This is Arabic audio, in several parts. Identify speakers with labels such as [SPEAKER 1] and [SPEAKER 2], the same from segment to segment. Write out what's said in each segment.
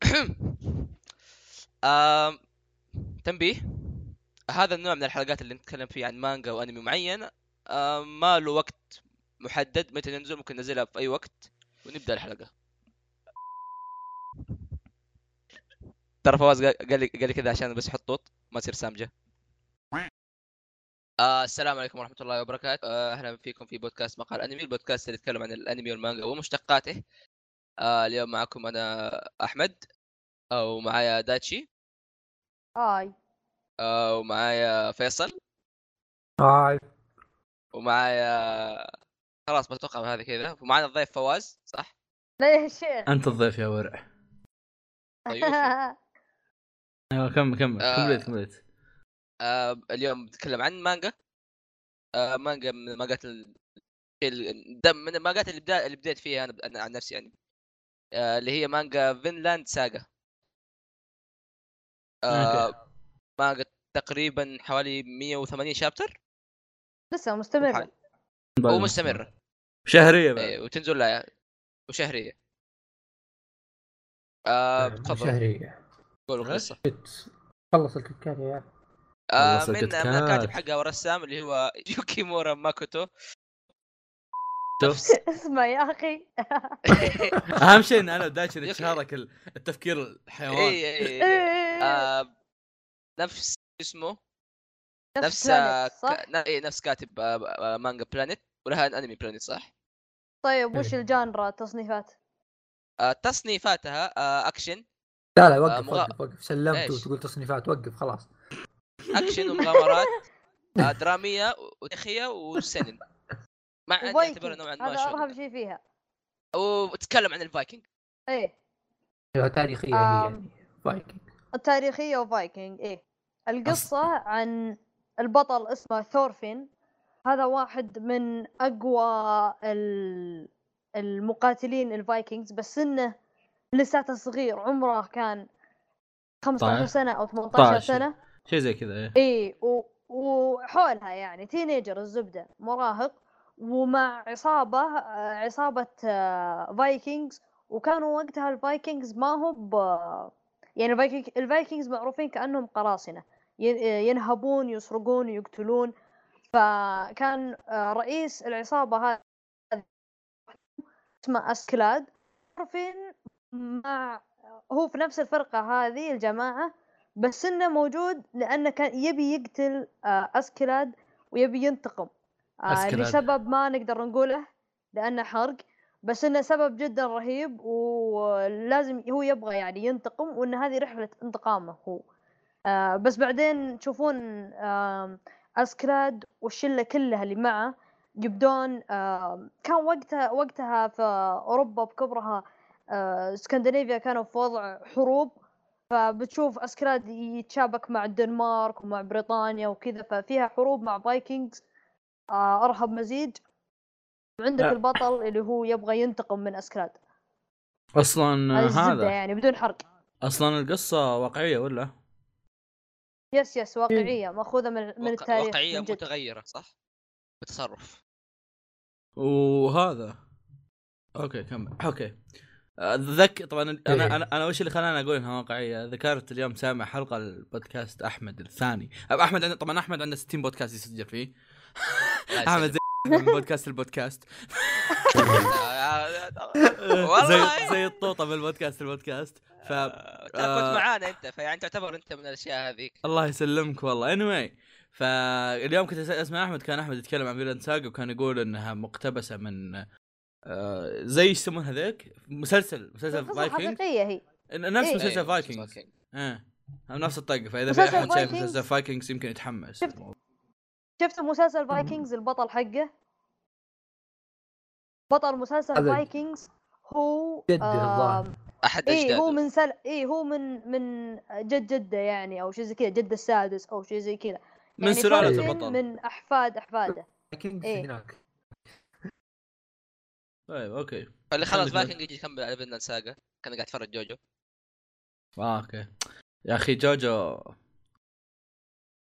[SPEAKER 1] آم، تنبيه هذا النوع من الحلقات اللي نتكلم فيه عن مانجا وانمي معين آم، ما له وقت محدد متى ننزل ممكن ننزلها في اي وقت ونبدا الحلقه ترى فواز قال قال لي قال لي كذا عشان بس احط طوط ما تصير سامجه آه السلام عليكم ورحمه الله وبركاته آه اهلا فيكم في بودكاست مقهى الانمي البودكاست اللي يتكلم عن الانمي والمانجا ومشتقاته آه اليوم معكم انا احمد آه، ومعايا دايتشي
[SPEAKER 2] هاي
[SPEAKER 1] آه، ومعايا فيصل
[SPEAKER 3] هاي
[SPEAKER 1] ومعايا خلاص بتوقع هذا كذا ومعنا الضيف فواز صح؟
[SPEAKER 2] لا يا شيخ
[SPEAKER 3] انت الضيف يا ورع
[SPEAKER 1] ضيوفي
[SPEAKER 3] ايوه كمل كمل
[SPEAKER 1] آه.
[SPEAKER 3] كملت كملت
[SPEAKER 1] آه اليوم بنتكلم عن مانجا آه مانجا من مانجات ال... ال- ده من المانجات اللي بدا... اللي بديت فيها انا, أنا عن نفسي يعني آه اللي هي مانجا فينلاند ساغا آه
[SPEAKER 3] أوكي.
[SPEAKER 1] مانجا تقريبا حوالي 180 شابتر
[SPEAKER 2] لسه مستمرة
[SPEAKER 3] بعد المستمر.
[SPEAKER 1] ومستمرة
[SPEAKER 3] شهريه بعد
[SPEAKER 1] إيه، وتنزل لها وشهرية آه
[SPEAKER 4] مو
[SPEAKER 1] تفضل
[SPEAKER 4] شهرية
[SPEAKER 1] قول القصة
[SPEAKER 4] خلص الكيكات يا عيال
[SPEAKER 1] آه
[SPEAKER 3] خلص
[SPEAKER 1] من من
[SPEAKER 3] الكتكات.
[SPEAKER 1] الكاتب حقها والرسام اللي هو يوكيمورا ماكوتو
[SPEAKER 3] شوف.
[SPEAKER 1] نفس
[SPEAKER 2] اسمع يا اخي
[SPEAKER 3] اهم شيء ان انا دايتشن
[SPEAKER 1] يوكي.
[SPEAKER 3] اتشارك ال- التفكير الحيوان
[SPEAKER 1] اي اي إي.
[SPEAKER 2] إيه.
[SPEAKER 1] إيه، آه نفس اسمه نفس آه،
[SPEAKER 2] بلانت، صح؟
[SPEAKER 1] ك- نا- إي، نفس كاتب آه، آه، مانجا بلانيت ولها انمي بلانيت صح
[SPEAKER 2] طيب وش
[SPEAKER 4] إيه.
[SPEAKER 2] الجانرا التصنيفات؟
[SPEAKER 1] آه تصنيفاتها آه اكشن
[SPEAKER 4] لا لا
[SPEAKER 1] آه،
[SPEAKER 4] وقف
[SPEAKER 1] مغا-
[SPEAKER 4] وقف وقف سلمت
[SPEAKER 1] إيش؟
[SPEAKER 4] وتقول تصنيفات وقف خلاص
[SPEAKER 1] اكشن ومغامرات آه دراميه وتاريخيه وسنن مع ان يعتبرها نوعا
[SPEAKER 2] Viking.
[SPEAKER 1] ما
[SPEAKER 2] هذا ارهب
[SPEAKER 1] شونن.
[SPEAKER 2] شيء فيها
[SPEAKER 1] وتتكلم عن الفايكنج
[SPEAKER 2] ايه
[SPEAKER 4] ايوه تاريخية
[SPEAKER 2] آه.
[SPEAKER 4] هي يعني فايكنج
[SPEAKER 2] التاريخية وفايكنج ايه القصة عن البطل اسمه ثورفين هذا واحد من اقوى ال- المقاتلين الفايكنجز بس انه لساته صغير عمره كان
[SPEAKER 4] طيب.
[SPEAKER 2] 15 سنة او 18
[SPEAKER 3] 18.
[SPEAKER 2] سنة
[SPEAKER 3] شيء زي كذا إيه.
[SPEAKER 2] اي و... وحولها يعني تينيجر الزبده مراهق ومع عصابه آه، عصابه آه، فايكنجز وكانوا وقتها الفايكنجز ما هو ب يعني الفايكنج الفايكنجز معروفين كانهم قراصنه ين- آه، ينهبون يسرقون يقتلون فكان آه، رئيس العصابه هذه اسمه اسكلاد معروفين مع هو في نفس الفرقه هذه الجماعه بس انه موجود لانه كان يبي يقتل آه، اسكلاد ويبي ينتقم آه،
[SPEAKER 3] أسكلاد.
[SPEAKER 2] لسبب ما نقدر نقوله لانه حرق بس انه سبب جدا رهيب ولازم هو يبغى يعني ينتقم وان هذه رحله انتقامه هو آه، بس بعدين تشوفون آم، اسكلاد والشله كلها اللي معه يبدون آه، آم، كان وقتها وقتها في اوروبا بكبرها آه، اسكندنافيا كانوا في وضع حروب فبتشوف اسكلاد يتشابك مع الدنمارك ومع بريطانيا وكذا ففيها حروب مع فايكنجز آه، ارهب مزيج وعندك
[SPEAKER 3] لا.
[SPEAKER 2] البطل اللي هو يبغى ينتقم من اسكلاد
[SPEAKER 3] اصلا
[SPEAKER 2] هذه الزبده
[SPEAKER 3] آه، هذا
[SPEAKER 2] يعني بدون حرق
[SPEAKER 3] اصلا القصه واقعيه ولا
[SPEAKER 2] يس يس واقعيه ماخوذه من من
[SPEAKER 1] وق-
[SPEAKER 2] التاريخ
[SPEAKER 1] واقعيه
[SPEAKER 2] من جد.
[SPEAKER 1] متغيره صح بتصرف
[SPEAKER 3] وهذا اوكي كمل اوكي ذك طبعا انا
[SPEAKER 4] إيه.
[SPEAKER 3] انا انا وش اللي خلاني اقول انها واقعيه ذكرت اليوم سامع حلقه البودكاست احمد الثاني أب- احمد عنده طبعا احمد عنده 60 بودكاست يسجل فيه
[SPEAKER 1] لا
[SPEAKER 3] احمد زي من بودكاست البودكاست
[SPEAKER 1] آه، والله
[SPEAKER 3] إيه، زي زي الطوطه من البودكاست البودكاست ف
[SPEAKER 1] آه، ترى كنت معانا انت فيعني تعتبر انت من الاشياء هذيك
[SPEAKER 3] الله يسلمك والله anyway فاليوم كنت أس- اسمع احمد كان احمد يتكلم عن فيلان ساجا وكان يقول انها مقتبسه من آه، زي ايش يسمونها ذاك مسلسل مسلسل
[SPEAKER 2] القصه
[SPEAKER 3] فايكنج
[SPEAKER 2] حقيقيه هي
[SPEAKER 3] نفس
[SPEAKER 2] إيه.
[SPEAKER 3] مسلسل
[SPEAKER 1] إيه،
[SPEAKER 3] فايكنج ايه نفس الطقه فاذا في
[SPEAKER 2] مسلسل
[SPEAKER 3] احد شايف
[SPEAKER 2] فايكنجز.
[SPEAKER 3] مسلسل فايكنجز يمكن يتحمس
[SPEAKER 2] شفت. شفت مسلسل فايكنجز البطل حقه بطل مسلسل
[SPEAKER 4] هذا-
[SPEAKER 2] فايكنجز هو
[SPEAKER 4] جده الظاهر.
[SPEAKER 2] آم،
[SPEAKER 1] احد
[SPEAKER 2] ايه هو
[SPEAKER 1] اجداده
[SPEAKER 2] من سل... ايه هو من من جد جده يعني او شيء زي كذا جده السادس او شيء زي كذا
[SPEAKER 3] من
[SPEAKER 2] يعني
[SPEAKER 3] سلاله
[SPEAKER 2] ثورفين
[SPEAKER 3] البطل
[SPEAKER 2] من احفاد احفاده
[SPEAKER 4] فايكنج
[SPEAKER 2] إيه.
[SPEAKER 4] هناك
[SPEAKER 3] طيب اوكي
[SPEAKER 1] اللي خلص
[SPEAKER 3] خلي بالك.
[SPEAKER 1] فايكنج يجي يكمل على فينلاند ساجا كان قاعد يتفرج جوجو
[SPEAKER 3] آه، اوكي يا اخي جوجو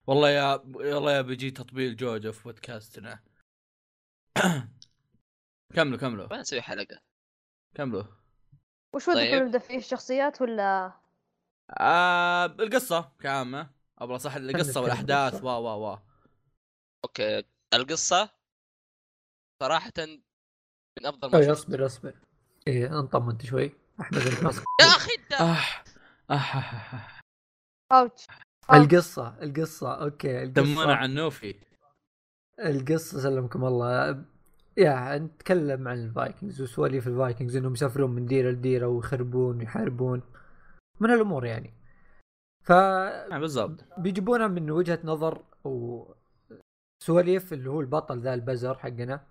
[SPEAKER 3] والله يا والله يا بيجي تطبيل جوجو في بودكاستنا كملوا كملوا
[SPEAKER 1] ما نسوي حلقه
[SPEAKER 3] كملوا
[SPEAKER 2] وش ودكم
[SPEAKER 1] طيب.
[SPEAKER 2] نبدا فيه الشخصيات ولا
[SPEAKER 3] آه القصه كعامه ابغى صح القصه
[SPEAKER 4] نتكلم
[SPEAKER 3] والاحداث
[SPEAKER 4] القصة.
[SPEAKER 3] وا وا وا
[SPEAKER 1] اوكي القصه صراحه من افضل ما
[SPEAKER 3] أيوه.
[SPEAKER 4] أي،
[SPEAKER 1] شفت
[SPEAKER 4] اصبر اصبر ايه انطم انت شوي احمد أنت ماسك
[SPEAKER 1] يا اخي انت
[SPEAKER 3] آه. آه. آه.
[SPEAKER 2] اوتش
[SPEAKER 4] القصه القصه اوكي
[SPEAKER 3] دمنا
[SPEAKER 4] القصه
[SPEAKER 3] عن نوفي
[SPEAKER 4] القصه سلمكم الله يا نتكلم عن الفايكنجز وسواليف الفايكنجز انهم يسافرون من ديره لديره ويخربون ويحاربون من الامور يعني ف
[SPEAKER 3] آه بالضبط
[SPEAKER 4] بيجيبونها من وجهه نظر وسواليف اللي هو البطل ذا البزر حقنا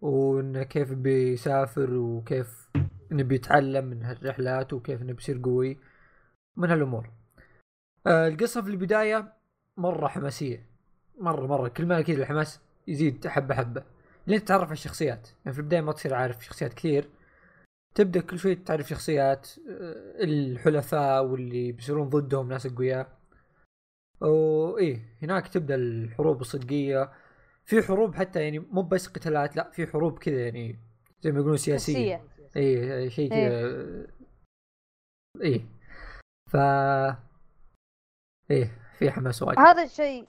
[SPEAKER 4] وانه كيف بيسافر وكيف انه بيتعلم من هالرحلات وكيف انه بيصير قوي من هالامور آه، القصه في البدايه مره حماسيه مره مره كل ما اكيد الحماس يزيد حبه حبه لين تتعرف على الشخصيات يعني في البدايه ما تصير عارف شخصيات كثير تبدا كل شوي تعرف شخصيات آه، الحلفاء واللي بيصيرون ضدهم ناس اقوياء وايه هناك تبدا الحروب الصدقيه في حروب حتى يعني مو بس قتالات لا في حروب كذا يعني زي ما يقولون سياسيه
[SPEAKER 2] نفسية
[SPEAKER 4] اي شيء
[SPEAKER 2] إيه.
[SPEAKER 4] كذا اي ف ايه في حماس وايد
[SPEAKER 2] هذا الشيء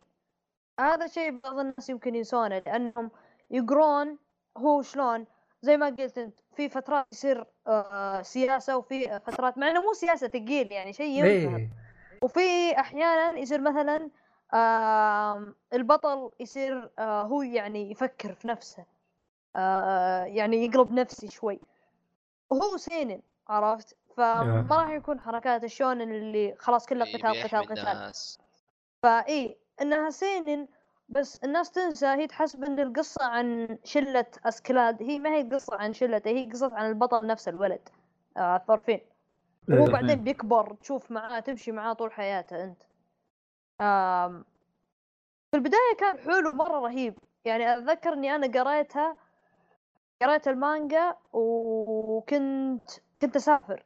[SPEAKER 2] هذا الشيء بعض الناس يمكن ينسونه لانهم يقرون هو شلون زي ما قلت انت في فترات يصير آه، سياسه وفي فترات مع انه مو سياسه ثقيل يعني شيء ينفهم
[SPEAKER 4] ايه
[SPEAKER 2] وفي احيانا يصير مثلا آم، البطل يصير آه، هو يعني يفكر في نفسه آه، يعني يقلب نفسي شوي وهو سينن عرفت فما
[SPEAKER 4] يا.
[SPEAKER 2] راح يكون حركات الشونن اللي خلاص كله قتال قتال قتال
[SPEAKER 1] الناس.
[SPEAKER 2] فاي انها سينن بس الناس تنسى هي تحسب ان القصه عن شله اسكلاد هي ما هي قصه عن شلته هي قصه عن البطل نفسه الولد آه الطرفين وهو
[SPEAKER 4] إيه.
[SPEAKER 2] بعدين بيكبر تشوف معاه تمشي معاه طول حياته انت آم في البدايه كان حلو مره رهيب يعني اتذكر اني انا قريتها قريت المانجا وكنت كنت اسافر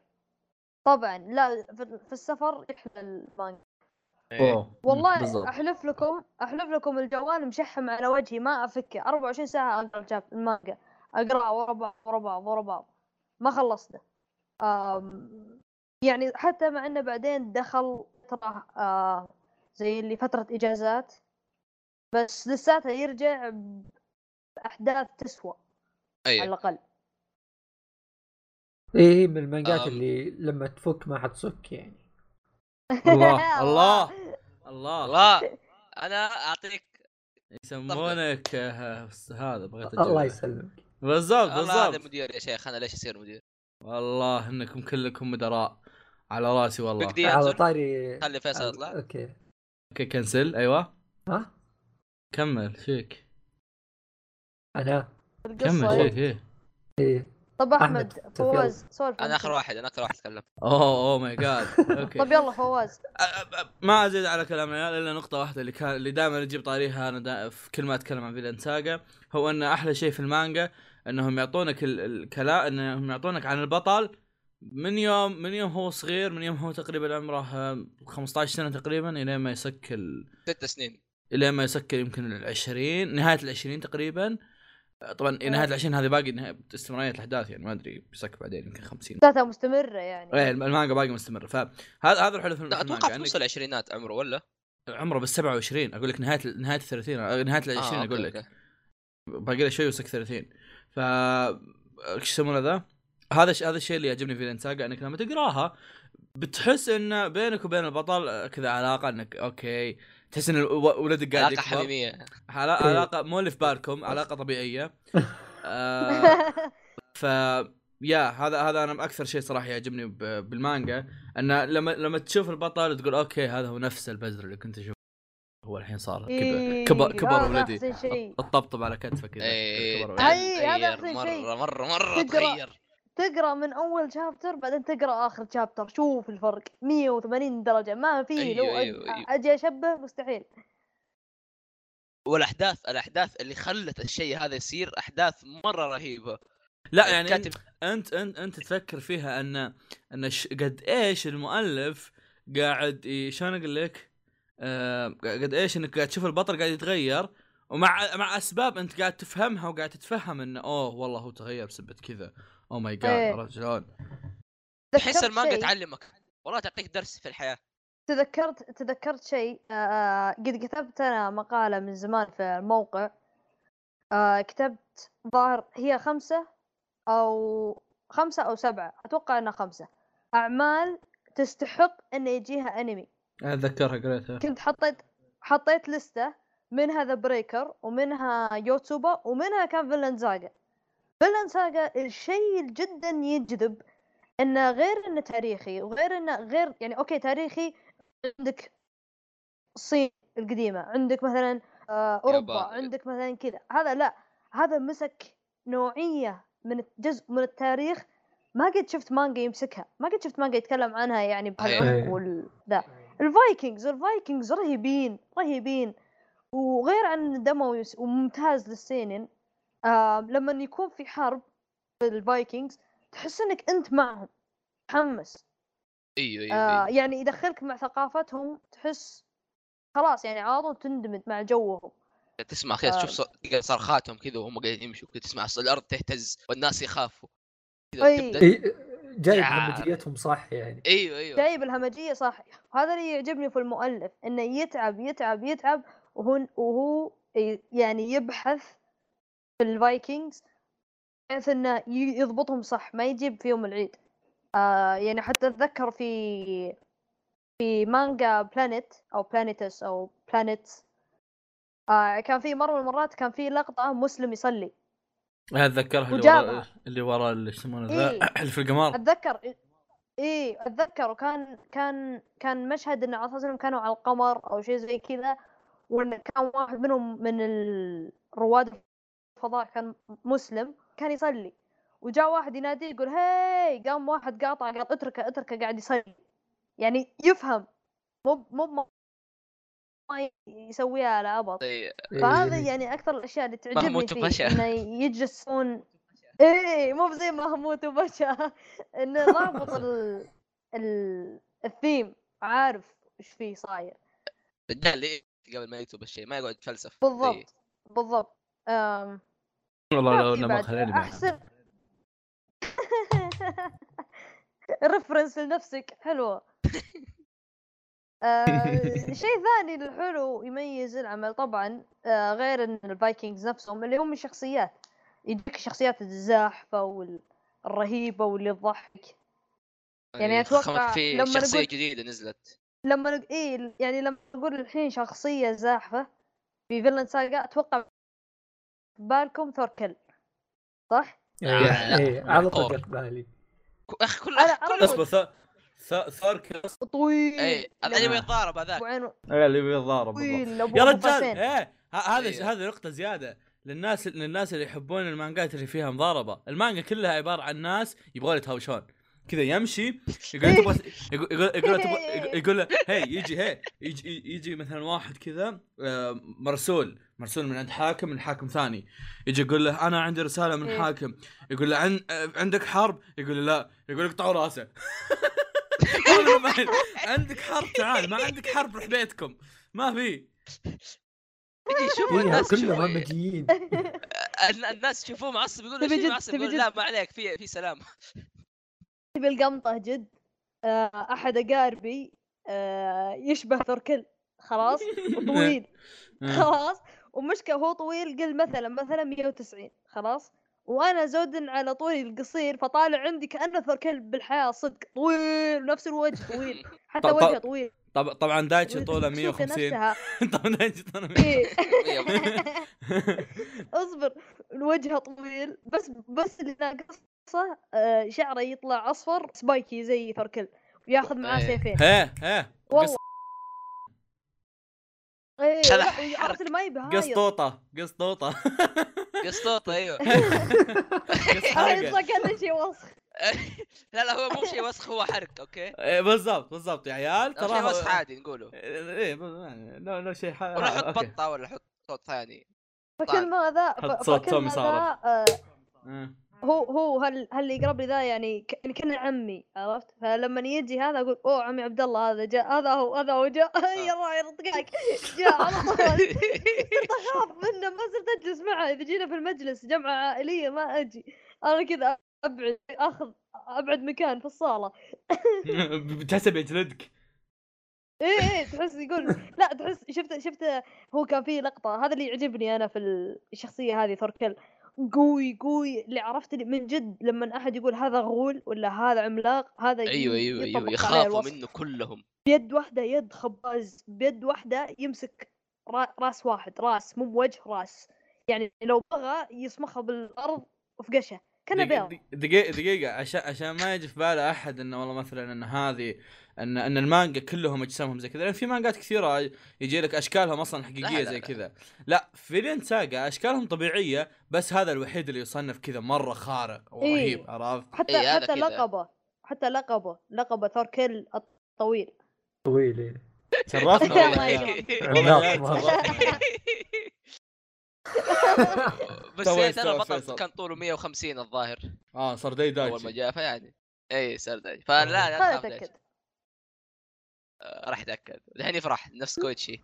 [SPEAKER 2] طبعا لا في في السفر يحلى المانجا
[SPEAKER 1] إيه.
[SPEAKER 3] أوه.
[SPEAKER 2] والله
[SPEAKER 3] بالضبط.
[SPEAKER 2] احلف لكم احلف لكم الجوال مشحم على وجهي ما افكه 24 ساعه اقرا الجاب المانجا اقرا ورا بعض ورا بعض ورا بعض ما خلصته أم، يعني حتى مع انه بعدين دخل ترى آه، زي اللي فتره اجازات بس لساته يرجع باحداث تسوى على
[SPEAKER 3] إيه.
[SPEAKER 1] ايوه
[SPEAKER 2] الاقل
[SPEAKER 4] ايه من المانجات
[SPEAKER 1] أم.
[SPEAKER 4] اللي لما تفك ما حتصك يعني
[SPEAKER 3] الله الله الله
[SPEAKER 1] الله انا اعطيك
[SPEAKER 3] يسمونك آه، هذا بغيت أجيب.
[SPEAKER 4] الله يسلمك
[SPEAKER 3] بالضبط
[SPEAKER 1] الله هذا
[SPEAKER 3] بالضبط
[SPEAKER 1] مدير يا شيخ انا ليش اصير مدير؟
[SPEAKER 3] والله انكم كلكم مدراء على راسي والله
[SPEAKER 1] بقدي-
[SPEAKER 4] على
[SPEAKER 1] ينزل.
[SPEAKER 4] طاري
[SPEAKER 1] خلي فيصل يطلع
[SPEAKER 4] اوكي
[SPEAKER 3] اوكي كنسل ايوه
[SPEAKER 4] ها
[SPEAKER 3] كمل فيك
[SPEAKER 4] انا
[SPEAKER 3] كمل
[SPEAKER 2] القصه
[SPEAKER 3] فيك ايه
[SPEAKER 4] ايه
[SPEAKER 2] إيه. طب
[SPEAKER 4] أحمد،
[SPEAKER 2] احمد
[SPEAKER 4] يلا.
[SPEAKER 2] فواز سولف
[SPEAKER 1] انا اخر
[SPEAKER 2] أنت.
[SPEAKER 1] واحد انا اخر واحد اتكلم
[SPEAKER 3] اوه اوه ماي جاد اوكي
[SPEAKER 2] طب يلا فواز
[SPEAKER 3] أ- أ- ما ازيد على كلام العيال الا نقطه واحده اللي كان اللي دائما اجيب طاريها انا دا في كل ما اتكلم عن فيلان ساجا هو ان احلى شيء في المانجا انهم يعطونك ال- الكلام انهم يعطونك عن البطل من يوم من يوم هو صغير من يوم هو تقريبا عمره آه، 15 سنه تقريبا الى ما يسك ال...
[SPEAKER 1] ست سنين
[SPEAKER 3] الى ما يسكر يمكن العشرين نهايه العشرين تقريبا طبعا نهايه العشرين هذه باقي نهاية استمراريه الاحداث يعني ما ادري بيسكر بعدين يمكن 50
[SPEAKER 2] لساتها مستمره يعني
[SPEAKER 3] ايه المانجا باقي مستمر فهذا هذا الحلو في
[SPEAKER 1] لا
[SPEAKER 3] المانجا
[SPEAKER 1] اتوقع في
[SPEAKER 3] يعني
[SPEAKER 1] نص العشرينات عمره ولا؟
[SPEAKER 3] عمره بال 27 اقول لك نهايه نهايه ال 30 آه، نهايه ال 20
[SPEAKER 1] آه،
[SPEAKER 3] اقول
[SPEAKER 1] أوكي،
[SPEAKER 3] لك
[SPEAKER 1] أوكي.
[SPEAKER 3] باقي له شوي وسك 30 ف ايش يسمونه ذا؟ هذا الش- هذا الشيء اللي يعجبني في الانساقة انك لما تقراها بتحس ان بينك وبين البطل آه، كذا علاقه انك اوكي تحس ان الو- ولدك قاعد
[SPEAKER 1] علاقه
[SPEAKER 3] يكبر
[SPEAKER 1] حميميه
[SPEAKER 4] إيه.
[SPEAKER 3] علاقة علاقة مو اللي في بالكم علاقة طبيعية آه ف يا هذا هذا انا اكثر شيء صراحه يعجبني ب- بالمانجا انه لما لما تشوف البطل تقول اوكي هذا هو نفس البزر اللي كنت اشوفه هو الحين صار كبر
[SPEAKER 2] إيه،
[SPEAKER 3] كبر,
[SPEAKER 2] هذا
[SPEAKER 3] كبر ولدي
[SPEAKER 2] أحسن شيء.
[SPEAKER 3] الطبطب على كتفه كذا
[SPEAKER 1] اي
[SPEAKER 3] كبر ولدي.
[SPEAKER 2] هاي، هذا أحسن شيء.
[SPEAKER 1] مره مره مره
[SPEAKER 2] تقرأ.
[SPEAKER 1] تغير
[SPEAKER 2] تقرا من اول شابتر بعدين تقرا اخر شابتر شوف الفرق 180 درجه ما في
[SPEAKER 1] أيوه،
[SPEAKER 2] لو أج-
[SPEAKER 1] أيوه، أيوه.
[SPEAKER 2] اجي اشبه مستحيل
[SPEAKER 1] والاحداث الاحداث اللي خلت الشيء هذا يصير احداث مره رهيبه
[SPEAKER 3] لا يعني انت
[SPEAKER 1] الكاتب
[SPEAKER 3] انت انت, انت تفكر فيها ان ان ش- قد ايش المؤلف قاعد ي- شلون اقول لك؟ آه، قد ايش انك قاعد تشوف البطل قاعد يتغير ومع مع اسباب انت قاعد تفهمها وقاعد تتفهم انه اوه والله هو تغير بسبه كذا او ماي جاد
[SPEAKER 2] إيه.
[SPEAKER 3] عرفت شلون؟
[SPEAKER 1] تحس
[SPEAKER 2] تذكرت
[SPEAKER 1] المانجا
[SPEAKER 2] شيء-
[SPEAKER 1] تعلمك والله تعطيك درس في الحياه
[SPEAKER 2] تذكرت تذكرت شيء آه، قد كتبت انا مقالة من زمان في الموقع آه، كتبت ظاهر هي خمسة او خمسة او سبعة اتوقع انها خمسة اعمال تستحق ان يجيها انمي
[SPEAKER 3] اتذكرها قريتها
[SPEAKER 2] كنت حطيت حطيت لستة منها ذا بريكر ومنها يوتوبا ومنها كان فيلن ساجا فيلن ساجا الشيء اللي جدا يجذب انه غير انه تاريخي وغير انه غير يعني اوكي تاريخي عندك الصين القديمة عندك مثلا آه، اوروبا
[SPEAKER 1] يابان.
[SPEAKER 2] عندك مثلا كذا هذا لا هذا مسك نوعية من الجزء من التاريخ ما قد شفت مانجا يمسكها ما قد شفت مانجا يتكلم عنها يعني
[SPEAKER 4] أيوة.
[SPEAKER 2] بهالعمق وال ذا الفايكنجز الفايكنجز رهيبين رهيبين وغير عن دموي وس- وممتاز للسينين آه لما يكون في حرب في الفايكنجز تحس انك انت معهم تحمس
[SPEAKER 1] ايوه ايوه,
[SPEAKER 2] آه
[SPEAKER 1] أيوة.
[SPEAKER 2] يعني يدخلك مع ثقافتهم تحس خلاص يعني على طول تندمج مع جوهم
[SPEAKER 1] تسمع كذا
[SPEAKER 2] آه.
[SPEAKER 1] تشوف ص- صرخاتهم كذا وهم قاعدين يمشوا كذا تسمع ص- الارض تهتز والناس يخافوا كذا
[SPEAKER 2] أي.
[SPEAKER 1] تبدا
[SPEAKER 4] إي
[SPEAKER 1] إيه.
[SPEAKER 4] جايب
[SPEAKER 1] يا-
[SPEAKER 4] همجيتهم إيه، صح يعني
[SPEAKER 1] ايوه ايوه
[SPEAKER 2] جايب الهمجية صح وهذا اللي يعجبني في المؤلف انه يتعب يتعب يتعب وهو وهو ي- يعني يبحث في الفايكنجز بحيث انه ي- يضبطهم صح ما يجيب فيهم العيد آه يعني حتى اتذكر في في مانجا بلانيت او بلانيتس او بلانيت آه كان في مرة من المرات كان في لقطة مسلم يصلي
[SPEAKER 3] اتذكرها اللي
[SPEAKER 2] وجابها.
[SPEAKER 3] ورا اللي ورا اللي يسمونه ذا
[SPEAKER 2] إيه.
[SPEAKER 3] اللي في القمار
[SPEAKER 2] اتذكر ايه اتذكر وكان كان كان مشهد ان على اساس انهم كانوا على القمر او شيء زي كذا وان كان واحد منهم من ال- رواد الفضاء كان مسلم كان يصلي وجاء واحد يناديه يقول هاي قام واحد قاطع قال اتركه اتركه قاعد يصلي يعني يفهم مو ب- مو ب- ما يسويها على عبط
[SPEAKER 1] طيب،
[SPEAKER 4] إيه،
[SPEAKER 2] فهذا
[SPEAKER 4] إي.
[SPEAKER 2] يعني اكثر الاشياء اللي تعجبني
[SPEAKER 1] مهموت
[SPEAKER 2] فيه
[SPEAKER 1] وبشع.
[SPEAKER 2] انه يجلسون ايه مو زي مهموت وبشع انه ضابط ال... ال... الثيم عارف ايش فيه صاير
[SPEAKER 1] رجال ليه قبل ما يكتب الشيء ما يقعد طيب. يتفلسف زي-
[SPEAKER 2] بالضبط بالضبط أم...
[SPEAKER 3] والله
[SPEAKER 2] ما
[SPEAKER 3] لو
[SPEAKER 2] في
[SPEAKER 3] انه ما
[SPEAKER 2] إيه، بعد.
[SPEAKER 3] خلاني معها.
[SPEAKER 2] احسن ريفرنس لنفسك حلوه آه، شيء ثاني الحلو يميز العمل طبعا آه، غير ان الفايكنجز نفسهم اللي هم الشخصيات يجيك الشخصيات الزاحفه والرهيبه واللي تضحك يعني
[SPEAKER 1] خم-
[SPEAKER 2] أتوقع
[SPEAKER 1] أيوة. في
[SPEAKER 2] لما
[SPEAKER 1] شخصيه
[SPEAKER 2] نقول-
[SPEAKER 1] جديده نزلت
[SPEAKER 2] لما نق... إيه يعني لما نقول الحين شخصيه زاحفه في فيلن ساجا اتوقع في بالكم ثوركل صح؟
[SPEAKER 1] لا،
[SPEAKER 4] إي، إيه، على طول
[SPEAKER 1] أوه.
[SPEAKER 4] جت بالي
[SPEAKER 1] ك- اخي كل
[SPEAKER 2] أنا-
[SPEAKER 1] أخي
[SPEAKER 2] أنا
[SPEAKER 1] كل
[SPEAKER 2] أقول-
[SPEAKER 3] اصبر ث- ث- ثورك
[SPEAKER 2] طويل
[SPEAKER 1] اي الانمي يتضارب هذاك
[SPEAKER 2] وعينه
[SPEAKER 3] إيه، اللي بيتضارب بالضبط.
[SPEAKER 2] طويل لبوه
[SPEAKER 3] يا رجال
[SPEAKER 2] فاسين.
[SPEAKER 3] ايه ه- هذا
[SPEAKER 1] أيوه.
[SPEAKER 3] هذه نقطة زيادة للناس للناس اللي يحبون المانجات اللي فيها مضاربة، المانجا كلها عبارة عن ناس يبغون يتهاوشون كذا يمشي يقول تبغى يقول يقول يقول تبغى- يقول له، هي يجي هي يجي يجي مثلا واحد كذا آه، مرسول مرسول من عند حاكم من حاكم ثاني يجي يقول له انا عندي رساله من
[SPEAKER 2] إيه.
[SPEAKER 3] حاكم يقول له عن... آه، عندك حرب يقول له لا يقول اقطعوا راسه عندك حرب تعال ما عندك حرب روح بيتكم ما في
[SPEAKER 1] يجي يشوفوا إيه،
[SPEAKER 4] فيها
[SPEAKER 1] الناس
[SPEAKER 4] إيه، كلهم
[SPEAKER 1] يشوفوا-
[SPEAKER 4] همجيين
[SPEAKER 1] الن- الناس يشوفوه معصب يقولوا
[SPEAKER 2] تبي
[SPEAKER 1] ليش
[SPEAKER 2] جد-
[SPEAKER 1] معصب
[SPEAKER 2] تبي
[SPEAKER 1] يقولوا لا
[SPEAKER 2] جد.
[SPEAKER 1] ما عليك في في سلام
[SPEAKER 2] تبي القمطة جد آه، أحد أقاربي آه، يشبه ثوركل خلاص وطويل
[SPEAKER 3] آه.
[SPEAKER 2] خلاص ومشكلة هو طويل قل مثلا مثلا 190 خلاص وأنا زود على طولي القصير فطالع عندي كأنه ثوركل بالحياة صدق طويل نفس الوجه طويل حتى
[SPEAKER 3] طب- طب-
[SPEAKER 2] وجهه طويل
[SPEAKER 3] طب طبعا دايتشي طوله
[SPEAKER 2] والشوكة
[SPEAKER 3] 150
[SPEAKER 2] نفسها
[SPEAKER 3] طبعا دايتشي طوله 150
[SPEAKER 2] إيه.
[SPEAKER 1] إيه،
[SPEAKER 2] اصبر وجهه طويل بس بس اللي ناقصه آه، شعره يطلع اصفر سبايكي زي ثوركل وياخذ معاه
[SPEAKER 1] إيه.
[SPEAKER 2] سيفين
[SPEAKER 3] هيه هيه
[SPEAKER 2] والله ايه
[SPEAKER 1] شلح
[SPEAKER 2] لا،
[SPEAKER 1] حرك.
[SPEAKER 2] ويعرف ما يبهايض
[SPEAKER 3] قسطوطه قسطوطه
[SPEAKER 1] قسطوطه ايوه
[SPEAKER 3] قس
[SPEAKER 2] أو
[SPEAKER 3] حلقة.
[SPEAKER 2] يطلع كانه شيء
[SPEAKER 1] طيب.
[SPEAKER 2] وسخ
[SPEAKER 1] لا لا هو مو شيء وسخ هو حرق اوكي
[SPEAKER 3] إيه، بالضبط بالضبط يا عيال
[SPEAKER 1] أو شيء
[SPEAKER 3] ترى
[SPEAKER 1] وسخ عادي نقوله
[SPEAKER 2] آه،
[SPEAKER 3] ايه ب- يعني لو لو شيء حلو
[SPEAKER 1] ولا حط بطه ولا حط صوت ثاني
[SPEAKER 2] فكل ما ذا
[SPEAKER 3] حط
[SPEAKER 2] ف-
[SPEAKER 3] صوت
[SPEAKER 2] فكل
[SPEAKER 3] تومي
[SPEAKER 2] ما
[SPEAKER 3] صارخ.
[SPEAKER 2] ذا آه، هو هو هل هل يقرب لي ذا يعني ك- يعني كنا عمي عرفت فلما يجي هذا اقول اوه عمي عبد الله هذا جاء هذا هو هذا هو
[SPEAKER 1] آه.
[SPEAKER 2] جاء يلا يرضقك جاء على طول صرت اخاف منه ما صرت اجلس معه اذا جينا في المجلس جمعه عائليه ما اجي انا كذا ابعد اخذ ابعد مكان في الصاله
[SPEAKER 3] بتحسب يجلدك
[SPEAKER 2] ايه ايه تحس يقول لا تحس شفت شفت هو كان فيه لقطه هذا اللي يعجبني انا في الشخصيه هذه ثوركل قوي قوي اللي عرفت اللي من جد لما احد يقول هذا غول ولا هذا عملاق هذا
[SPEAKER 1] ايوه
[SPEAKER 2] ي-
[SPEAKER 1] ايوه
[SPEAKER 2] يطبق
[SPEAKER 1] ايوه
[SPEAKER 2] عليه
[SPEAKER 1] يخافوا
[SPEAKER 2] الوصف.
[SPEAKER 1] منه كلهم
[SPEAKER 2] بيد واحده يد خباز بيد واحده يمسك را- راس واحد راس مو بوجه راس يعني لو بغى يصمخها بالارض في قشه كان
[SPEAKER 3] دقيقة-
[SPEAKER 2] بيض
[SPEAKER 3] دقيقة دقيقة عشان عشان ما يجي في باله احد انه والله مثلا ان هذه ان ان المانجا كلهم اجسامهم زي كذا لان في مانجات كثيرة يجي لك اشكالهم اصلا
[SPEAKER 1] لا،
[SPEAKER 3] حقيقية
[SPEAKER 1] لا،
[SPEAKER 3] زي
[SPEAKER 1] لا.
[SPEAKER 3] كذا لا في لين ساجا اشكالهم طبيعية بس هذا الوحيد اللي يصنف كذا مرة خارق
[SPEAKER 2] إيه.
[SPEAKER 3] ورهيب عرفت؟
[SPEAKER 2] حتى
[SPEAKER 1] إيه، هذا
[SPEAKER 2] حتى
[SPEAKER 1] كذا.
[SPEAKER 2] لقبه حتى لقبه لقبه ثوركل الطويل
[SPEAKER 4] طويل إيه.
[SPEAKER 3] شرفنا
[SPEAKER 2] الله
[SPEAKER 3] والله يا-
[SPEAKER 1] يكرمك.
[SPEAKER 3] والله يا-
[SPEAKER 4] مرة.
[SPEAKER 3] شرفنا.
[SPEAKER 1] بس
[SPEAKER 3] تو
[SPEAKER 1] يعني انا
[SPEAKER 3] يستوعب
[SPEAKER 1] بطل
[SPEAKER 3] فيصل.
[SPEAKER 1] كان طوله 150 الظاهر
[SPEAKER 3] اه صار داي
[SPEAKER 1] اول ما
[SPEAKER 3] دايتشي
[SPEAKER 1] جاء فيعني اي صار دايجي فلا لا
[SPEAKER 2] خليني
[SPEAKER 1] تخاف دايجي.
[SPEAKER 2] اتاكد
[SPEAKER 1] آه، راح اتاكد الحين يفرح نفس كويتشي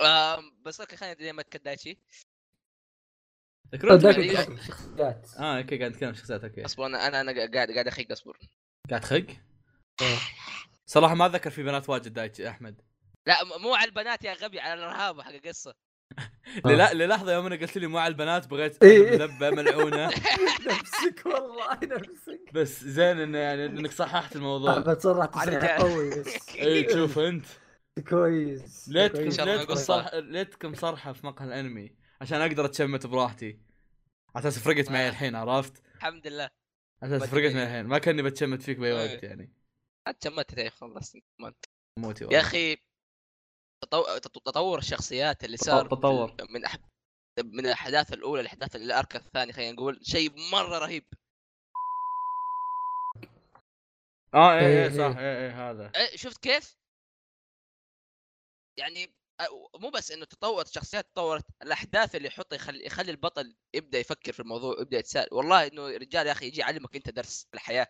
[SPEAKER 1] آم، بس اوكي خلينا لين ما تكداتشي
[SPEAKER 3] ذكرون
[SPEAKER 1] دايتشي.
[SPEAKER 3] كذا-
[SPEAKER 1] أيوة.
[SPEAKER 4] شخصيات
[SPEAKER 3] اه اوكي قاعد نتكلم عن شخصيات اوكي
[SPEAKER 1] اصبر انا انا انا قاعد قاعد اخيق اصبر
[SPEAKER 3] قاعد خق
[SPEAKER 1] آه.
[SPEAKER 3] صراحة ما اتذكر في بنات واجد دايتشي احمد
[SPEAKER 1] لا م- مو على البنات يا غبي على الرهابه حق القصه
[SPEAKER 3] للا- للحظة يوم انا قلت لي مو على البنات بغيت
[SPEAKER 4] آه. إيه.
[SPEAKER 3] ملبة ملعونة
[SPEAKER 4] نفسك والله نفسك
[SPEAKER 3] بس زين انه يعني انك صححت الموضوع إيه،
[SPEAKER 4] احمد صرحت
[SPEAKER 1] على
[SPEAKER 4] تصريح
[SPEAKER 1] جال.
[SPEAKER 4] قوي بس
[SPEAKER 3] اي تشوف انت
[SPEAKER 4] كويس كويس.
[SPEAKER 3] ليتكم
[SPEAKER 1] إيه، إن شاء الله
[SPEAKER 3] ليتكم
[SPEAKER 1] نقص.
[SPEAKER 3] صرح ليتكم صرحه في مقهى الانمي عشان اقدر اتشمت براحتي على اساس فرقت
[SPEAKER 1] آه.
[SPEAKER 3] معي الحين عرفت؟
[SPEAKER 1] الحمد لله
[SPEAKER 3] على اساس فرقت معي الحين ما كاني بتشمت فيك
[SPEAKER 1] آه.
[SPEAKER 3] باي وقت يعني
[SPEAKER 1] عاد شمت تعرف خلصت كمان.
[SPEAKER 3] موتي
[SPEAKER 1] يا
[SPEAKER 3] والله.
[SPEAKER 1] اخي تطو- تط- تطور الشخصيات اللي صار
[SPEAKER 3] تطور.
[SPEAKER 1] من- من أح- من الاحداث الاولى لاحداث الارك الثاني خلينا نقول شيء مره رهيب
[SPEAKER 3] اه اي
[SPEAKER 4] إيه،
[SPEAKER 3] اي صح
[SPEAKER 4] إيه.
[SPEAKER 3] اي اي هذا
[SPEAKER 1] إيه، شفت كيف؟ يعني أ- مو بس انه تطورت الشخصيات تطورت الاحداث اللي يحطها يخلي يخلي البطل يبدا يفكر في الموضوع يبدا يتساءل والله انه رجال يا اخي يجي يعلمك انت درس الحياه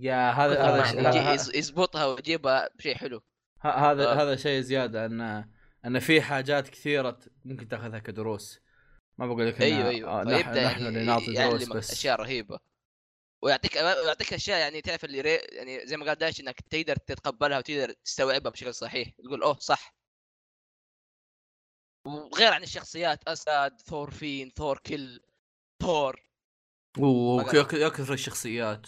[SPEAKER 3] يا هذا هذا
[SPEAKER 4] طبعاً.
[SPEAKER 1] يجي
[SPEAKER 3] هذا-
[SPEAKER 1] يز- يزبطها ويجيبها بشيء حلو
[SPEAKER 3] هذا
[SPEAKER 1] آه.
[SPEAKER 3] هذا شيء زيادة ان ان في حاجات كثيرة ممكن تاخذها كدروس ما بقول لك إن-
[SPEAKER 1] ايوه ايوه
[SPEAKER 3] آه، نح-
[SPEAKER 1] فيبدا
[SPEAKER 3] نحن اللي نعطي دروس
[SPEAKER 1] يعلمك
[SPEAKER 3] بس
[SPEAKER 1] اشياء رهيبه ويعطيك ويعطيك اشياء يعني تعرف اللي ري... يعني زي ما قال داش انك تقدر تتقبلها وتقدر تستوعبها بشكل صحيح تقول اوه صح وغير عن الشخصيات اسد ثور فين ثور كل ثور
[SPEAKER 3] اوه
[SPEAKER 1] ما
[SPEAKER 3] يك- يكثر الشخصيات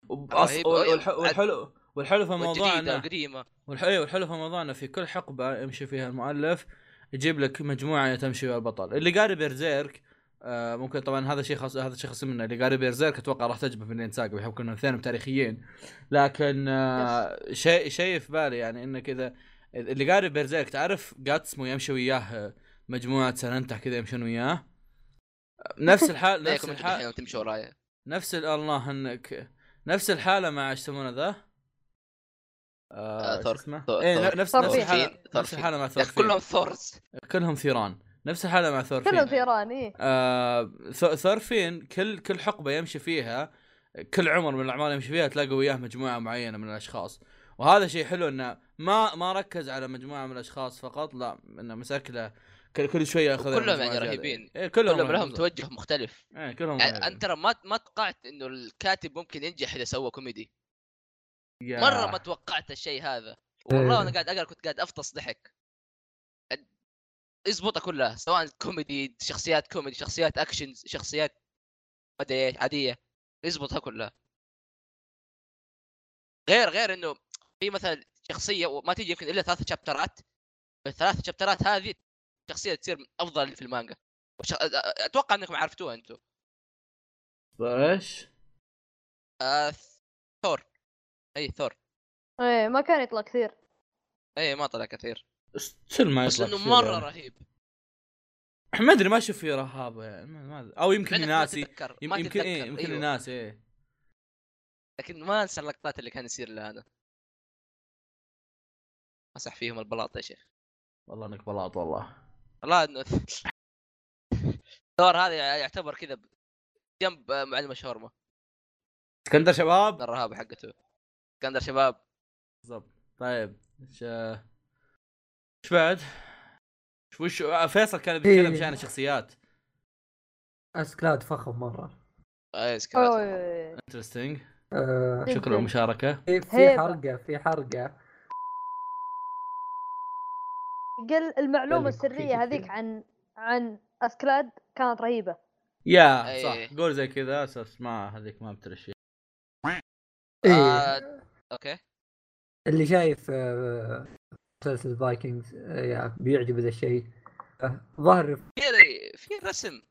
[SPEAKER 3] وبأص-
[SPEAKER 1] رهيب.
[SPEAKER 3] والح- والحلو والحلو في الموضوع
[SPEAKER 1] والجديده
[SPEAKER 3] انه
[SPEAKER 1] والقديمه
[SPEAKER 3] والح- أيوة، والحلو في الموضوع انه في كل حقبه يمشي فيها المؤلف يجيب لك مجموعه تمشي فيها البطل اللي قاري بيرزيرك آه ممكن طبعا هذا شيء خاص هذا شيء خاص منه اللي قاري بيرزيرك اتوقع راح تجبه في الانساق بحكم انهم اثنينهم تاريخيين لكن آه شيء شيء في بالي يعني انك اذا اللي قاري بيرزيرك تعرف جاتسمو يمشي وياه آه، مجموعه سننتح كذا يمشون وياه آه، نفس الحال نفس
[SPEAKER 1] ليكم انتم
[SPEAKER 3] الحال
[SPEAKER 1] الحين وتمشوا ورايا
[SPEAKER 3] نفس ال- الله انك نفس الحاله مع ايش يسمونه ذا؟
[SPEAKER 1] آه،
[SPEAKER 3] آه شو
[SPEAKER 1] ثور-
[SPEAKER 3] اسمه؟
[SPEAKER 1] ثور-
[SPEAKER 3] ايه
[SPEAKER 1] ثور-
[SPEAKER 3] ن- نفس
[SPEAKER 2] ثور
[SPEAKER 3] نفس
[SPEAKER 2] فين.
[SPEAKER 3] الحاله
[SPEAKER 1] ثور
[SPEAKER 3] نفس
[SPEAKER 1] فين.
[SPEAKER 3] الحاله مع
[SPEAKER 1] يا
[SPEAKER 3] ثور
[SPEAKER 1] أخي كلهم
[SPEAKER 3] كلهم
[SPEAKER 1] ثورز
[SPEAKER 3] كلهم ثيران نفس الحاله مع ثور
[SPEAKER 2] كلهم
[SPEAKER 3] فين
[SPEAKER 2] ثيران ايه
[SPEAKER 3] آه ث- ثور فين كل كل حقبه يمشي فيها كل عمر من الاعمار يمشي فيها تلاقي وياه مجموعه معينه من الاشخاص وهذا شيء حلو انه ما ما ركز على مجموعه من الاشخاص فقط لا انه مسك له كل كل شويه ياخذ
[SPEAKER 1] وكلهم
[SPEAKER 3] مجموعة
[SPEAKER 1] يعني
[SPEAKER 3] زيادة.
[SPEAKER 1] رهيبين.
[SPEAKER 3] إيه كلهم
[SPEAKER 1] كلهم لهم
[SPEAKER 3] رهيبين.
[SPEAKER 1] توجه مختلف
[SPEAKER 3] إيه كلهم
[SPEAKER 1] يعني
[SPEAKER 3] رهيبين.
[SPEAKER 1] انت ترى ما ما توقعت انه الكاتب ممكن ينجح اذا سوى كوميدي
[SPEAKER 3] يا-
[SPEAKER 1] مره ما توقعت الشيء هذا
[SPEAKER 4] إيه.
[SPEAKER 1] والله انا قاعد اقرا كنت قاعد افطس ضحك أد- يزبطها كلها سواء كوميدي شخصيات كوميدي شخصيات اكشن شخصيات ما ادري إيش، عاديه يزبطها كلها غير غير انه في مثلا شخصيه وما تيجي يمكن الا ثلاث شابترات الثلاث شابترات هذه شخصيه تصير من افضل اللي في المانجا وش... أ- أ- اتوقع انكم عرفتوها انتم
[SPEAKER 3] ايش؟
[SPEAKER 1] آه... ثور اي ثور
[SPEAKER 2] ايه ما كان يطلع كثير
[SPEAKER 1] اي ما طلع كثير
[SPEAKER 3] ستيل ما
[SPEAKER 1] بس
[SPEAKER 3] يطلع
[SPEAKER 1] انه
[SPEAKER 3] كثير
[SPEAKER 1] مره
[SPEAKER 3] يعني.
[SPEAKER 1] رهيب
[SPEAKER 3] ما ادري ما اشوف فيه رهابه يعني ما ما أدري. او يمكن
[SPEAKER 1] لأنك ما
[SPEAKER 3] ناسي
[SPEAKER 1] تتذكر ما
[SPEAKER 3] يمكن يمكن إيه
[SPEAKER 1] تتذكر،
[SPEAKER 3] يمكن
[SPEAKER 1] أيوه.
[SPEAKER 3] ناسي ايه
[SPEAKER 1] لكن ما انسى اللقطات اللي كان يصير لها انا مسح فيهم البلاط يا شيخ
[SPEAKER 3] والله انك بلاط والله
[SPEAKER 1] والله انه الدور هذا يعتبر كذا ب- جنب آه، معلم الشاورما
[SPEAKER 3] اسكندر شباب
[SPEAKER 1] الرهابه حقته اسكندر شباب
[SPEAKER 3] بالضبط طيب ايش ايش بعد؟ إيش- وش آه، فيصل كان بيتكلم
[SPEAKER 4] إيه.
[SPEAKER 3] شان الشخصيات
[SPEAKER 4] اسكلاد فخم مره
[SPEAKER 1] آه، إيه، سكرات.
[SPEAKER 2] أوي.
[SPEAKER 3] انترستنج
[SPEAKER 4] آه،
[SPEAKER 3] شكرا
[SPEAKER 2] جداً.
[SPEAKER 3] للمشاركه
[SPEAKER 4] في في
[SPEAKER 2] هيبة.
[SPEAKER 4] حرقه في حرقه
[SPEAKER 2] قل المعلومه
[SPEAKER 4] بلي.
[SPEAKER 2] السريه هذيك عن عن اسكلاد كانت رهيبه
[SPEAKER 3] يا
[SPEAKER 1] أي.
[SPEAKER 3] صح قول زي كذا اساس ما هذيك ما بترشي
[SPEAKER 4] إيه.
[SPEAKER 1] آه، اوكي
[SPEAKER 4] اللي شايف آه، مسلسل فايكنجز آه، يا بيعجب ذا الشيء آه، ظاهر
[SPEAKER 1] في في رسم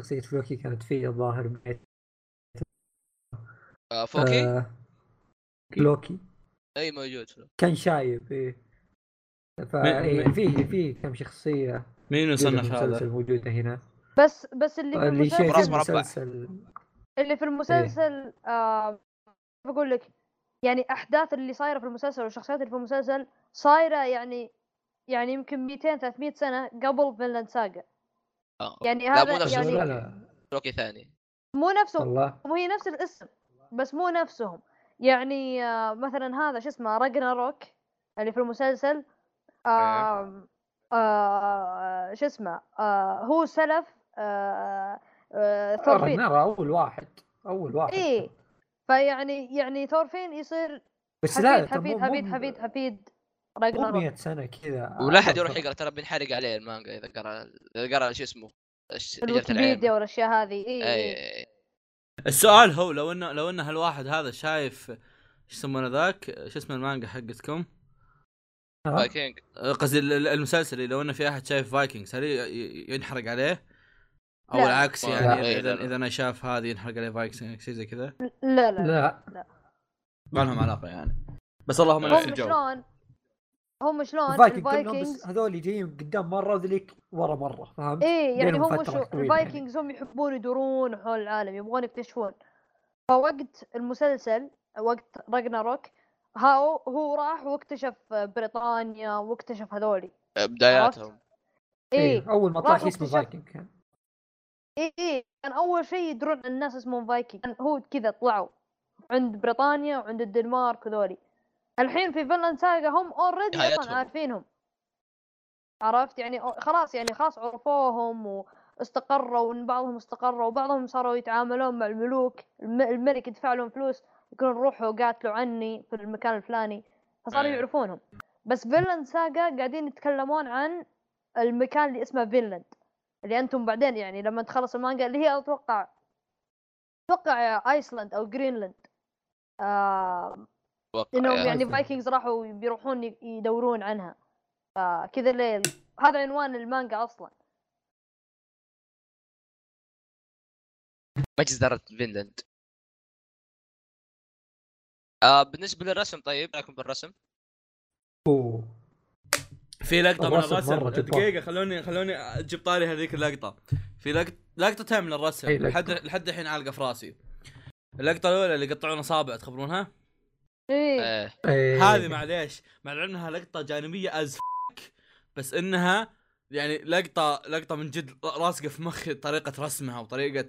[SPEAKER 4] شخصية فلوكي كانت فيه ظاهر بيت
[SPEAKER 1] آه، فوكي
[SPEAKER 4] آه، لوكي
[SPEAKER 1] اي موجود في-
[SPEAKER 4] كان شايب ايه
[SPEAKER 3] م-
[SPEAKER 4] فايه في في كم شخصية
[SPEAKER 3] مين يصنف
[SPEAKER 4] المسلسل
[SPEAKER 3] هذا؟
[SPEAKER 4] موجودة هنا
[SPEAKER 2] بس بس اللي في
[SPEAKER 4] آه، اللي شايف
[SPEAKER 1] راس
[SPEAKER 2] المسلسل
[SPEAKER 1] مربع.
[SPEAKER 4] المسلسل
[SPEAKER 2] اللي
[SPEAKER 1] إيه.
[SPEAKER 2] في المسلسل آه بقول لك يعني احداث اللي صايره في المسلسل والشخصيات اللي في المسلسل صايره يعني يعني يمكن 200 300 سنه قبل فينلاند ساغا
[SPEAKER 1] اه
[SPEAKER 2] يعني
[SPEAKER 1] لا، مو
[SPEAKER 2] هذا
[SPEAKER 1] نفسه.
[SPEAKER 4] لا
[SPEAKER 2] يعني
[SPEAKER 4] لا
[SPEAKER 1] فوكي ثاني
[SPEAKER 2] مو نفسهم
[SPEAKER 4] والله
[SPEAKER 2] وهي نفس الاسم بس مو نفسهم يعني آه، مثلا هذا شو اسمه راجنا روك اللي في المسلسل
[SPEAKER 1] إيه.
[SPEAKER 2] آم، آه، شو اسمه آه، هو سلف آه، آه، ثورفين
[SPEAKER 4] راجنر اول واحد اول واحد
[SPEAKER 2] ايه فيعني يعني ثورفين يصير
[SPEAKER 4] بس لا
[SPEAKER 2] حفيد
[SPEAKER 4] ترى مو-
[SPEAKER 2] حفيد
[SPEAKER 4] مو-
[SPEAKER 2] حفيد حفيد حفيد
[SPEAKER 4] مو
[SPEAKER 2] راجنا
[SPEAKER 4] 100 سنة كذا
[SPEAKER 1] ولا احد يروح يقرا ترى بنحرق عليه المانجا اذا قرا اذا قرا شو اسمه الش- شجرة العين
[SPEAKER 2] الويكيبيديا والاشياء هذه اي
[SPEAKER 1] اي
[SPEAKER 2] إيه.
[SPEAKER 1] أي.
[SPEAKER 3] السؤال هو لو انه لو ان هالواحد هذا شايف شو يسمونه ذاك؟ شو اسم المانجا حقتكم؟
[SPEAKER 4] آه.
[SPEAKER 1] فايكنج
[SPEAKER 3] أه، قصدي ال- ال- المسلسل لو انه في احد شايف فايكنجز هل ي- ي- ينحرق عليه؟ او
[SPEAKER 2] لا.
[SPEAKER 3] العكس
[SPEAKER 1] لا.
[SPEAKER 3] يعني
[SPEAKER 1] لا.
[SPEAKER 3] اذا
[SPEAKER 1] لا.
[SPEAKER 3] اذا انا شاف هذه ينحرق عليه فايكنجز شيء زي كذا
[SPEAKER 2] لا لا
[SPEAKER 4] لا
[SPEAKER 3] ما لهم علاقه يعني بس اللهم نفس
[SPEAKER 2] هم
[SPEAKER 3] الجو
[SPEAKER 2] شلون هم شلون
[SPEAKER 4] الفايكنج كلهم بس
[SPEAKER 2] آه، الفايكنجز
[SPEAKER 4] هذول جايين قدام مرة وذليك ورا مرة فهمت؟
[SPEAKER 2] ايه يعني
[SPEAKER 4] بينهم
[SPEAKER 2] هم
[SPEAKER 4] فترة
[SPEAKER 2] شو
[SPEAKER 4] طويلة يعني.
[SPEAKER 2] الفايكنجز هم يحبون يدورون حول العالم يبغون يكتشفون فوقت المسلسل وقت راجناروك هاو هو راح واكتشف بريطانيا واكتشف هذولي
[SPEAKER 1] بداياتهم
[SPEAKER 2] ايه
[SPEAKER 4] اول إيه، ما
[SPEAKER 2] راح
[SPEAKER 4] طلع شيء اسمه
[SPEAKER 2] واكتشف-
[SPEAKER 4] فايكنج كان
[SPEAKER 2] ايه ايه كان اول شيء يدرون عن الناس اسمهم فايكنج كان هو كذا طلعوا عند بريطانيا وعند الدنمارك وذولي الحين في فنلاند ساغا هم اوريدي
[SPEAKER 1] نهايتهم.
[SPEAKER 2] اصلا عارفينهم عرفت يعني أو- خلاص يعني خلاص عرفوهم واستقروا وان بعضهم استقروا وبعضهم صاروا يتعاملون مع الملوك الم- الملك يدفع لهم فلوس يقولون روحوا قاتلوا عني في المكان الفلاني فصاروا
[SPEAKER 1] إيه.
[SPEAKER 2] يعرفونهم بس فينلاند ساغا قاعدين يتكلمون عن المكان اللي اسمه فينلاند اللي انتم بعدين يعني لما تخلص المانجا اللي هي اتوقع اتوقع ايسلند او جرينلاند آه
[SPEAKER 1] اتوقع
[SPEAKER 2] انهم
[SPEAKER 1] يعني.
[SPEAKER 2] يعني
[SPEAKER 4] Iceland.
[SPEAKER 2] فايكنجز راحوا بيروحون ي- يدورون عنها آه كذا ليل هذا عنوان المانجا اصلا
[SPEAKER 1] ما جزرت فينلاند آه بالنسبه للرسم طيب رايكم بالرسم
[SPEAKER 4] اوه
[SPEAKER 3] في لقطه من
[SPEAKER 4] الرسم
[SPEAKER 3] الرسم
[SPEAKER 4] مرة جبار.
[SPEAKER 3] دقيقه خلوني خلوني اجيب طاري هذيك اللقطه في لقطه لقطتين من الرسم
[SPEAKER 4] أي لقطة؟
[SPEAKER 3] لحد لحد الحين عالقه في راسي اللقطه الاولى اللي يقطعون اصابع تخبرونها
[SPEAKER 2] ايه
[SPEAKER 1] آه.
[SPEAKER 4] إيه.
[SPEAKER 3] هذه معليش مع العلم انها لقطه جانبيه از بس انها يعني لقطه لقطه من جد راسقه في مخي طريقه رسمها وطريقه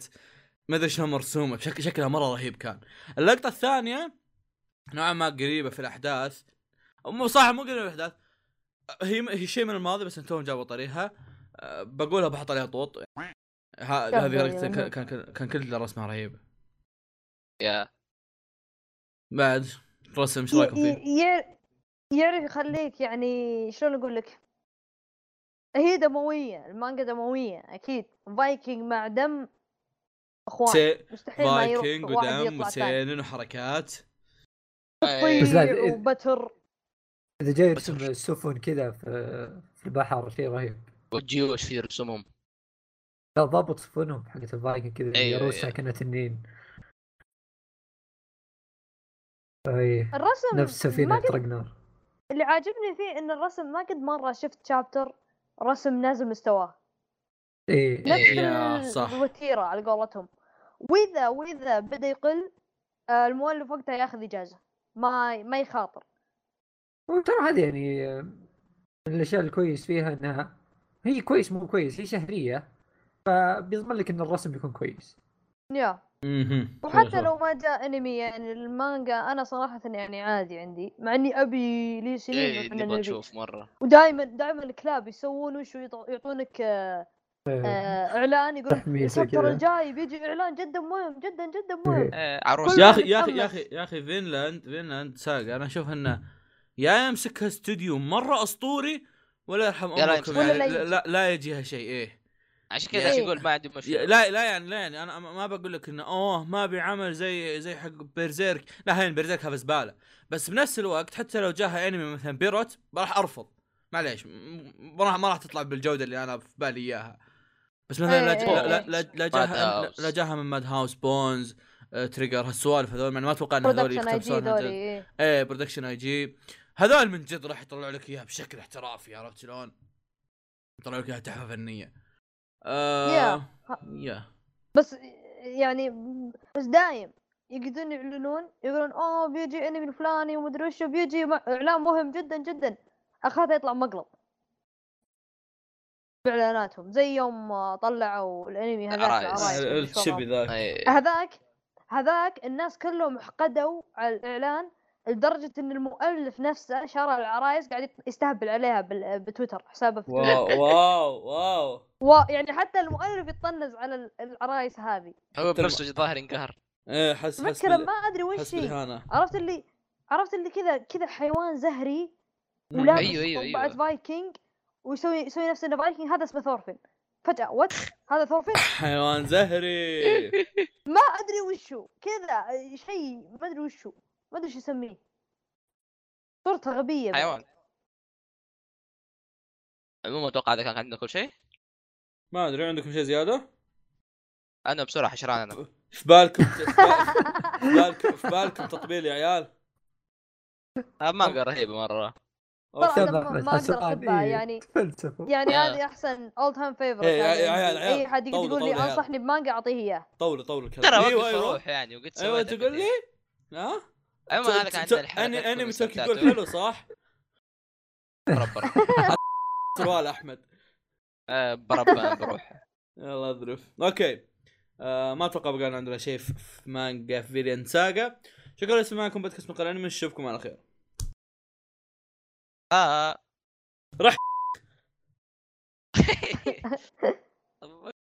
[SPEAKER 3] ما ادري شلون مرسومه بشكل شكلها مره رهيب كان اللقطه الثانيه نوعا ما قريبه في الاحداث أو مو صح مو قريبه في الاحداث هي هي شيء من الماضي بس انتم جابوا طريقها أه، بقولها بحط عليها طوط ه-
[SPEAKER 2] يا
[SPEAKER 3] هذه لقطه
[SPEAKER 2] زلمة.
[SPEAKER 3] كان يعني. كان كان كل رسمها رهيبه
[SPEAKER 1] يا
[SPEAKER 3] بعد رسم ايش رايكم
[SPEAKER 2] ي-
[SPEAKER 3] فيه؟
[SPEAKER 2] ي- يعر- يعرف يخليك يعني شلون اقول لك هي دمويه المانجا دمويه اكيد فايكنج مع دم اخوان
[SPEAKER 3] سي-
[SPEAKER 2] مستحيل ما
[SPEAKER 3] فايكنج
[SPEAKER 2] يروح واحد
[SPEAKER 3] ودم
[SPEAKER 2] يطلع ثاني
[SPEAKER 3] وسنن وحركات
[SPEAKER 1] آه.
[SPEAKER 4] بس لا،
[SPEAKER 2] طير
[SPEAKER 4] إذ-
[SPEAKER 2] وبتر
[SPEAKER 4] اذا جاي
[SPEAKER 1] بس
[SPEAKER 4] يرسم
[SPEAKER 1] وش-
[SPEAKER 4] السفن كذا في في البحر شيء رهيب
[SPEAKER 1] والجيوش في رسومهم
[SPEAKER 4] لا ضابط سفنهم حقت الفايكنج كذا
[SPEAKER 1] أيوة،
[SPEAKER 4] يروسها كانها تنين اي
[SPEAKER 2] الرسم
[SPEAKER 4] إيه، نفس
[SPEAKER 2] ما
[SPEAKER 4] سفينة
[SPEAKER 2] قد
[SPEAKER 4] راجنر
[SPEAKER 2] اللي عاجبني فيه ان الرسم ما قد مره شفت شابتر رسم نازل مستواه
[SPEAKER 4] اي
[SPEAKER 2] نفس
[SPEAKER 3] إيه، يا صح.
[SPEAKER 2] ال- الوتيره على قولتهم واذا واذا بدا يقل آه، المؤلف وقتها ياخذ اجازه ما ما يخاطر
[SPEAKER 4] وترى هذه يعني آه، من الاشياء الكويس فيها انها هي كويس مو كويس هي شهرية فبيضمن لك ان الرسم بيكون كويس
[SPEAKER 2] يا
[SPEAKER 3] مهم.
[SPEAKER 2] وحتى لو ما جاء انمي يعني المانجا انا صراحه يعني عادي عندي مع اني ابي لي
[SPEAKER 3] إيه،
[SPEAKER 2] سنين
[SPEAKER 1] ايه
[SPEAKER 2] وإحنا
[SPEAKER 1] نبغى
[SPEAKER 2] نبي.
[SPEAKER 1] نشوف مره
[SPEAKER 2] ودائما دائما الكلاب يسوون وش يعطونك آه، آه، اعلان يقول
[SPEAKER 4] إيه. تحميسة
[SPEAKER 2] الفتره
[SPEAKER 4] كذا.
[SPEAKER 2] الجاي بيجي اعلان جدا مهم جدا جدا مهم
[SPEAKER 1] إيه، عروس
[SPEAKER 2] كل-
[SPEAKER 3] يا
[SPEAKER 2] ما
[SPEAKER 3] اخي يا اخي يا
[SPEAKER 2] نتخلص.
[SPEAKER 3] اخي يا اخي فينلاند فينلاند ساقا انا اشوف انه يا يمسكها استوديو مره اسطوري ولا يرحم
[SPEAKER 1] يا لا
[SPEAKER 3] امكم
[SPEAKER 1] يمسكها.
[SPEAKER 3] يعني
[SPEAKER 2] ولا
[SPEAKER 3] لا,
[SPEAKER 2] يجي.
[SPEAKER 3] لا, لا يجيها شيء ايه
[SPEAKER 1] عشان كذا
[SPEAKER 2] إيه.
[SPEAKER 1] يقول ما عندي
[SPEAKER 3] يا-
[SPEAKER 1] مشكله
[SPEAKER 3] لا لا يعني لا يعني انا ما بقول لك انه اوه ما بيعمل زي زي حق بيرزيرك لا هين بيرزيرك هذا زباله بس بنفس الوقت حتى لو جاها انمي مثلا بيروت راح ارفض معليش م- م- ما راح ما راح تطلع بالجوده اللي انا في بالي اياها بس مثلا لا
[SPEAKER 2] إيه،
[SPEAKER 3] ج-
[SPEAKER 2] إيه،
[SPEAKER 3] لا لا, لا, لا جاها
[SPEAKER 1] Madhouse.
[SPEAKER 3] لا جاها من ماد هاوس بونز آه، تريجر هالسوالف هذول يعني ما اتوقع ان هذول
[SPEAKER 2] برودكشن اي جي
[SPEAKER 3] يختبسون
[SPEAKER 2] ذولي
[SPEAKER 3] هذول.
[SPEAKER 2] إيه.
[SPEAKER 3] ايه برودكشن اي جي هذول من جد راح يطلعوا لك اياها بشكل احترافي عرفت شلون؟ يطلعوا لك اياها تحفه فنيه. آه
[SPEAKER 2] يا.
[SPEAKER 3] يا
[SPEAKER 2] بس يعني بس دايم يقدرون يعلنون يقولون اوه بيجي انمي الفلاني ومدري وش بيجي مع- اعلان مهم جدا جدا اخذها يطلع مقلب باعلاناتهم زي يوم آه، طلعوا الانمي
[SPEAKER 3] إيه،
[SPEAKER 2] هذاك
[SPEAKER 1] Arise.
[SPEAKER 2] Arise، مدري شو
[SPEAKER 3] الشبي
[SPEAKER 2] وضعه.
[SPEAKER 3] ذاك
[SPEAKER 1] إيه.
[SPEAKER 2] هذاك هذاك الناس كلهم حقدوا على الاعلان لدرجه ان المؤلف نفسه شارع العرايس قاعد يط- يستهبل عليها بال- بتويتر حسابه في تويتر.
[SPEAKER 3] واو واو واو
[SPEAKER 2] و- يعني حتى المؤلف يطنز على ال- العرايس هذه
[SPEAKER 1] هو بنفسه ظاهر انقهر
[SPEAKER 3] ايه حس حس
[SPEAKER 2] فكره
[SPEAKER 3] بال-
[SPEAKER 2] ما ادري وش
[SPEAKER 3] حس
[SPEAKER 2] هي
[SPEAKER 3] بالاهانه
[SPEAKER 2] عرفت اللي عرفت اللي كذا كذا حيوان زهري ولابس
[SPEAKER 1] أيوة، أيوة، أيوة.
[SPEAKER 2] طبعة فايكنج ويسوي يسوي نفسه انه فايكنج هذا اسمه ثورفين فجأة وات هذا ثورفين
[SPEAKER 3] حيوان زهري
[SPEAKER 2] ما ادري وشو كذا شيء ما ادري وشو ما ادري شو اسميه صورته غبية بعد.
[SPEAKER 1] حيوان عموما اتوقع هذا كان عندنا كل شيء
[SPEAKER 3] ما ادري عندكم شيء زياده؟
[SPEAKER 1] انا بسرعه حشران انا
[SPEAKER 3] في بالكم في بالكم في بالكم تطبيل يا عيال
[SPEAKER 1] آه، مانجا رهيبه مره
[SPEAKER 2] طبعا
[SPEAKER 4] أستاذ
[SPEAKER 2] أنا ما-
[SPEAKER 4] أحمد،
[SPEAKER 2] ما اقدر
[SPEAKER 4] السؤال
[SPEAKER 2] احبها
[SPEAKER 4] إيه؟
[SPEAKER 2] يعني
[SPEAKER 4] فلسفه
[SPEAKER 2] يعني
[SPEAKER 1] آه.
[SPEAKER 2] هذه احسن اول تايم فيفرت
[SPEAKER 3] إيه، يا- يا عيال، عيال،
[SPEAKER 2] اي يعني حد يقعد
[SPEAKER 3] طولوا-
[SPEAKER 2] يقول
[SPEAKER 3] طولوا يا
[SPEAKER 2] لي
[SPEAKER 3] عيال.
[SPEAKER 2] انصحني بمانجا اعطيه اياه
[SPEAKER 3] طولوا طولوا الكلام
[SPEAKER 1] ترى
[SPEAKER 3] أيوة،
[SPEAKER 1] وقت
[SPEAKER 3] أيوة.
[SPEAKER 1] اروح يعني وقد
[SPEAKER 3] ايوه
[SPEAKER 1] سويت
[SPEAKER 3] تقول لي ها؟
[SPEAKER 1] المهم هذا أيوة، كان عندنا الحلقه
[SPEAKER 3] اني انمي تركي يقول
[SPEAKER 1] استمتعتوا.
[SPEAKER 3] حلو صح؟
[SPEAKER 1] بربر
[SPEAKER 3] سروال احمد
[SPEAKER 1] آه، بربر بروح
[SPEAKER 3] يلا اذرف اوكي آه ما اتوقع بقى إن عندنا شيء في في مانجا في فيليان ساجا شكرا لسماعكم بودكاست مقال انمي نشوفكم على خير
[SPEAKER 1] آه.
[SPEAKER 3] رح.